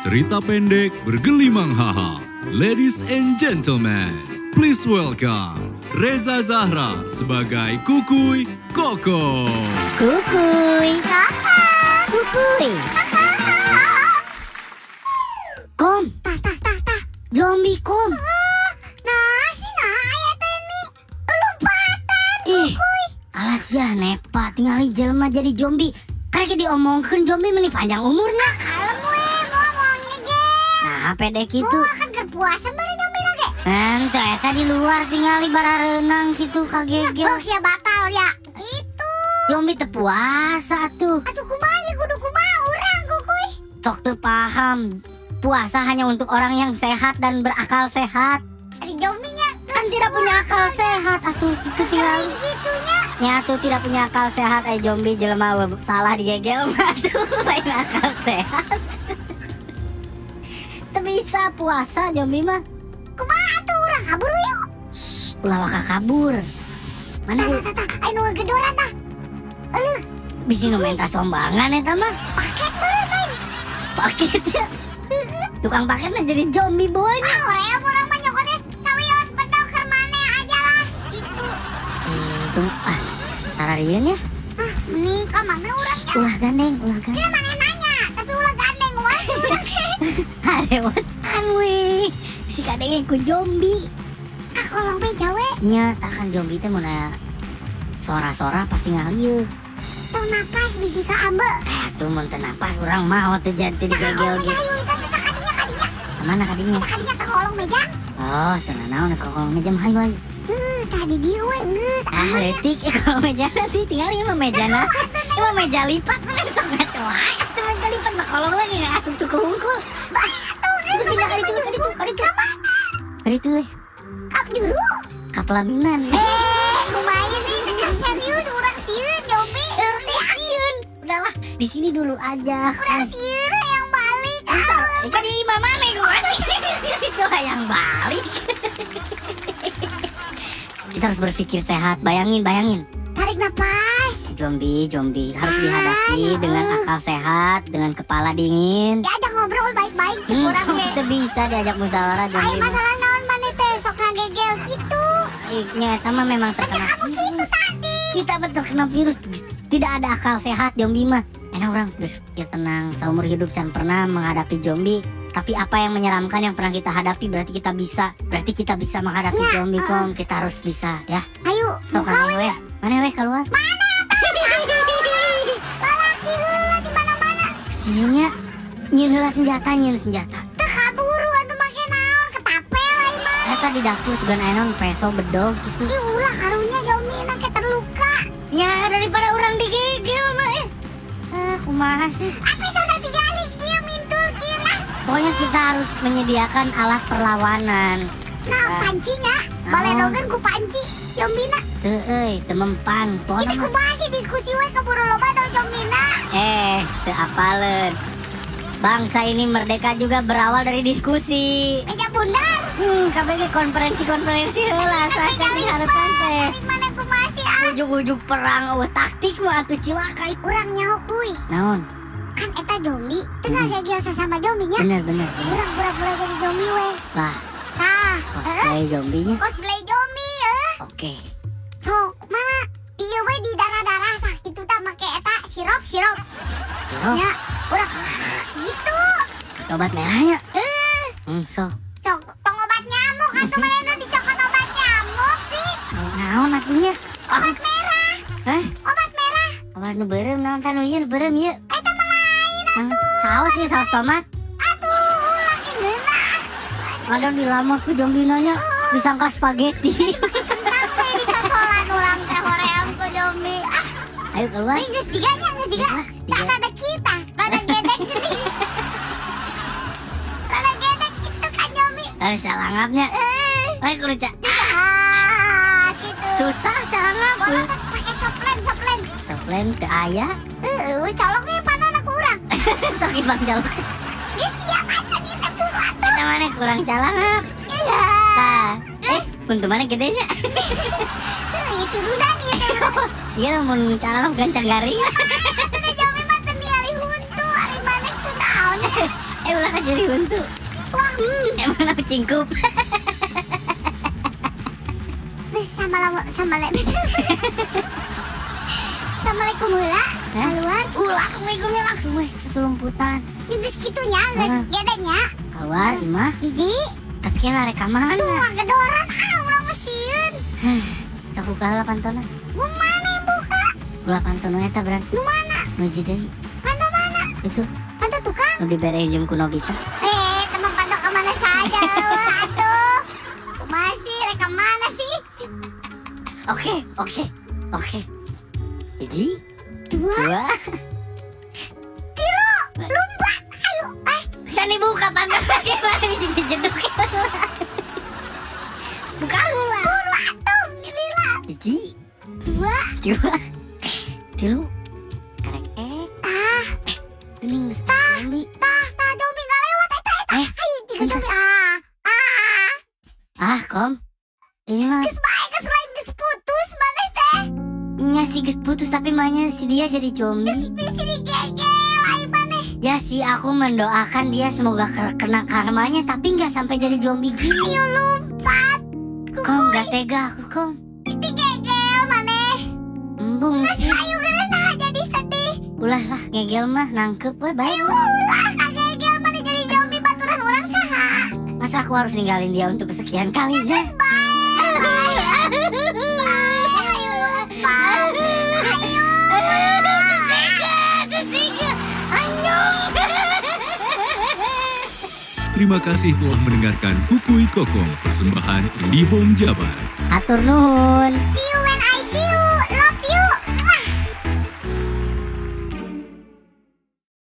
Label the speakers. Speaker 1: Cerita pendek bergelimang haha. Ladies and gentlemen, please welcome Reza Zahra sebagai Kukuy Koko.
Speaker 2: Kukuy. Kukuy. Kom. Zombie kom. Ih, alas ya nepa tinggali jelma jadi zombie. Karena diomongkan zombie meni panjang umurnya. Nah, apa deh gitu. Ente eta di luar tinggali bara renang gitu kagegel. Zombie tepuasa tuh. Sok tuh paham. Puasa hanya untuk orang yang sehat dan berakal sehat. Kan tidak punya akal sehat atuh itu tinggal. Nyatu tidak punya akal sehat eh zombie jelema we- salah digegel batu lain akal sehat. Teu bisa puasa zombie mah. Ulah waka kabur. Mana ku- bisi nu minta sombangan eta mah. Paket ya. Tukang paket mah jadi zombie boy.
Speaker 3: Ah, ya, Gitu.
Speaker 2: Itu ah tara rieun ya.
Speaker 3: Ah, Nikah mana orang ya?
Speaker 2: Ulah gandeng, ulah gandeng.
Speaker 3: Kita mana nanya, tapi ulah gandeng wah. ya. ulah gandeng.
Speaker 2: Harewasan we. Ah, Si kadenge ku zombie.
Speaker 3: Kak kolong pe jawe,
Speaker 2: Nya takkan zombie teh mun aya sora-sora pasti ngalieu.
Speaker 3: tong napas bisi ka ambe.
Speaker 2: Eh tuh mun teu napas urang mah teu jadi teu digegel
Speaker 3: Kolong
Speaker 2: gitu.
Speaker 3: ayo kita teh kadinya kadinya.
Speaker 2: Mana kadinya?
Speaker 3: ya, Kita kadinya ka kolong meja.
Speaker 2: Oh, teu nanaon ka kolong meja mah hayu. hayu.
Speaker 3: Heuh, tadi dieu we geus.
Speaker 2: Ah, letik eh kalau meja nanti tinggal ieu mah meja na. Ieu mah meja lipat kan sok ngacoa. Teu meja lipat mah kolong lagi nggak asup suku hungkul. Itu pindah kali tuh, kali tuh, kali tuh. Kali tuh, eh,
Speaker 3: Kap juru.
Speaker 2: kaplaminan. Eh,
Speaker 3: Eh, lumayan nih teh serius urang sieun Jopi.
Speaker 2: orang siun. Udahlah, di sini dulu aja.
Speaker 3: Urang sieun yang balik.
Speaker 2: Ntar, kan di imam mana gua Coba yang balik Kita harus berpikir sehat Bayangin, bayangin
Speaker 3: Tarik napas.
Speaker 2: Zombie, zombie Harus
Speaker 3: Ah,
Speaker 2: dihadapi
Speaker 3: ya.
Speaker 2: dengan akal sehat Dengan kepala dingin
Speaker 3: Diajak Ya, ngobrol baik-baik jeung
Speaker 2: Hmm,
Speaker 3: urang ge.
Speaker 2: Kita bisa diajak musyawarah
Speaker 3: Ai
Speaker 2: zombie
Speaker 3: masalah naon maneh teh sok ngagegel gitu.
Speaker 2: Eh, Nyata mah memang terkena
Speaker 3: Kamu gitu
Speaker 2: virus
Speaker 3: tadi.
Speaker 2: Kita betul kena virus Tidak ada akal sehat zombie mah Enak orang Ya tenang Seumur hidup Can pernah menghadapi zombie tapi apa yang menyeramkan yang pernah kita hadapi berarti kita bisa berarti kita bisa menghadapi
Speaker 3: Ya,
Speaker 2: zombie kom
Speaker 3: uh-uh.
Speaker 2: kita harus bisa ya
Speaker 3: Ayo,
Speaker 2: sok
Speaker 3: buka
Speaker 2: mana weh ya. mana weh keluar
Speaker 3: Lalaki heula di mana-mana.
Speaker 2: sihnya nyin heula ya. senjata nyin senjata
Speaker 3: Teu kaburu atuh make naon ketapel ai mah.
Speaker 2: eta di dapur sugan aya naon peso bedog gitu
Speaker 3: Ih ulah karunya jomina ke terluka.
Speaker 2: nya Ya, daripada orang digigil mah eh ah kumaha sih
Speaker 3: Apa sudah digali ieu mintul kieu nah.
Speaker 2: pokoknya kita harus menyediakan alat perlawanan
Speaker 3: Nah,
Speaker 2: Ah.
Speaker 3: pancinya baledogeun kan, ku panci jomina.
Speaker 2: Teu euy teu mempan
Speaker 3: Ini
Speaker 2: pokona mah
Speaker 3: kumaha sih diskusi we keburu loba dong jomina.
Speaker 2: Eh, teu apaleun. Bangsa ini merdeka juga berawal dari diskusi.
Speaker 3: Meja bundar.
Speaker 2: Hmm, KBG konferensi-konferensi heula saca dihareupan teh.
Speaker 3: Dari mana kumaha sih ah?
Speaker 2: Ujug-ujug perang eueuh taktik mah atuh cilaka.
Speaker 3: Urang nyaok kuy.
Speaker 2: Naon?
Speaker 3: Kan eta zombie teu ngagegil sasama jombinya.
Speaker 2: Bener bener bener.
Speaker 3: Urang pura-pura jadi zombie we.
Speaker 2: Bah,
Speaker 3: Tah, eh,
Speaker 2: cosplay zombinya.
Speaker 3: cosplay zombie eh.
Speaker 2: Oke.
Speaker 3: sok mana iya we di darah darah tah itu tah make eta sirup sirup
Speaker 2: Yo,
Speaker 3: nya udah gitu
Speaker 2: obat merahnya.
Speaker 3: eh
Speaker 2: Hmm, so.
Speaker 3: sok tong obat nyamuk atau mana udah dicokot obat nyamuk sih
Speaker 2: Naon atunya?
Speaker 3: obat merah
Speaker 2: Hah?
Speaker 3: obat merah
Speaker 2: Obat nu beureum naon Oh, iya, tanu ieu nu beureum ieu?
Speaker 3: eta mah Eh, lain
Speaker 2: Naon? Saos ieu saos tomat.
Speaker 3: atuh ulah geuna
Speaker 2: Kadang dilamar ku zombinanya disangka spagheti.
Speaker 3: kentang we dicocolan urang teh hoream ku zombie ah
Speaker 2: Ayo keluar.
Speaker 3: ini geus tiga nya geus tiga
Speaker 2: Ah,
Speaker 3: tak
Speaker 2: tiga.
Speaker 3: ada kita rada gedek gini rada gedek gitu kan zombie
Speaker 2: Eh, salah ngapnya.
Speaker 3: eh
Speaker 2: Eh, kudu ca-
Speaker 3: Ah, gitu.
Speaker 2: Susah cara
Speaker 3: Bola
Speaker 2: ngapun.
Speaker 3: teh pakai soplen, soplen.
Speaker 2: Soplen teu aya.
Speaker 3: Eh, uh, coloknya panon aku urang.
Speaker 2: Sok ibang jaluk.
Speaker 3: Dia siap aja dia teh buruan tuh.
Speaker 2: Eta mana kurang calangap.
Speaker 3: Iya.
Speaker 2: Tah. Eh,
Speaker 3: Terus?
Speaker 2: untuk mana gedenya?
Speaker 3: Eh, itu duda dia teh.
Speaker 2: Iya, mau calangap gancang garing.
Speaker 3: Sudah jami mah teu ningali huntu, ari maneh teu naon.
Speaker 2: eh ulah ka jadi bentuk. Wah, hmm, emang nak cingkup.
Speaker 3: Terus sama lawa sama le. Assalamualaikum heula. Keluar.
Speaker 2: Ulah wegum ya langsung weh sesulumputan.
Speaker 3: Geus kitunya, geus
Speaker 2: Ah.
Speaker 3: gedenya.
Speaker 2: Keluar imah,
Speaker 3: Hiji,
Speaker 2: tapi lah reka mana?
Speaker 3: tuh gedoran ah urang mah sieun.
Speaker 2: Cak buka lah pantona.
Speaker 3: Gumana buka?
Speaker 2: Ulah pantona eta berarti.
Speaker 3: Nu mana?
Speaker 2: Muji deui.
Speaker 3: Panto mana?
Speaker 2: Itu
Speaker 3: Panto tukang?
Speaker 2: nu dibere jeung ku Nobita.
Speaker 3: Eh, teman panto ke mana saja lu? Aduh. Masih reka mana sih?
Speaker 2: Oke, oke, oke. Hiji,
Speaker 3: Dua,
Speaker 2: dua,
Speaker 3: tilu, lompat. Ayo, eh,
Speaker 2: kita nih buka pantona gimana di sini jeduk.
Speaker 3: buka heula. Buru atuh, lila.
Speaker 2: Hiji,
Speaker 3: Dua,
Speaker 2: dua, tilu, karek eh,
Speaker 3: tah,
Speaker 2: gening geus
Speaker 3: Ah.
Speaker 2: ambi.
Speaker 3: tah, tah, zombie nggak lewat. Eta, eta,
Speaker 2: Eh,
Speaker 3: ayo, tiga zombie. Ah, ah,
Speaker 2: Ah, kom. Ini mah
Speaker 3: geus bae, geus lain, geus putus, mana teh?
Speaker 2: nya si geus Iya putus tapi mahnya si dia jadi zombie.
Speaker 3: Di sini gege, lain mana?
Speaker 2: Ya si aku mendoakan dia semoga ke- kena karmanya tapi nggak sampai jadi zombie gini.
Speaker 3: Ayo lompat.
Speaker 2: Kom nggak tega aku kom.
Speaker 3: Itu gege, mana?
Speaker 2: Embung
Speaker 3: Geus
Speaker 2: sih.
Speaker 3: ayo gerena jadi sedih.
Speaker 2: Ulah lah ngegel mah nangkep we baik.
Speaker 3: Ayo ulah, kagege, mana jadi zombie baturan orang saha?
Speaker 2: Masa aku harus ninggalin dia untuk kesekian ya? kalinya?
Speaker 1: Terima kasih telah mendengarkan Kukui Koko, persembahan IndiHome Jabar.
Speaker 2: Atur nuhun.
Speaker 3: See you when I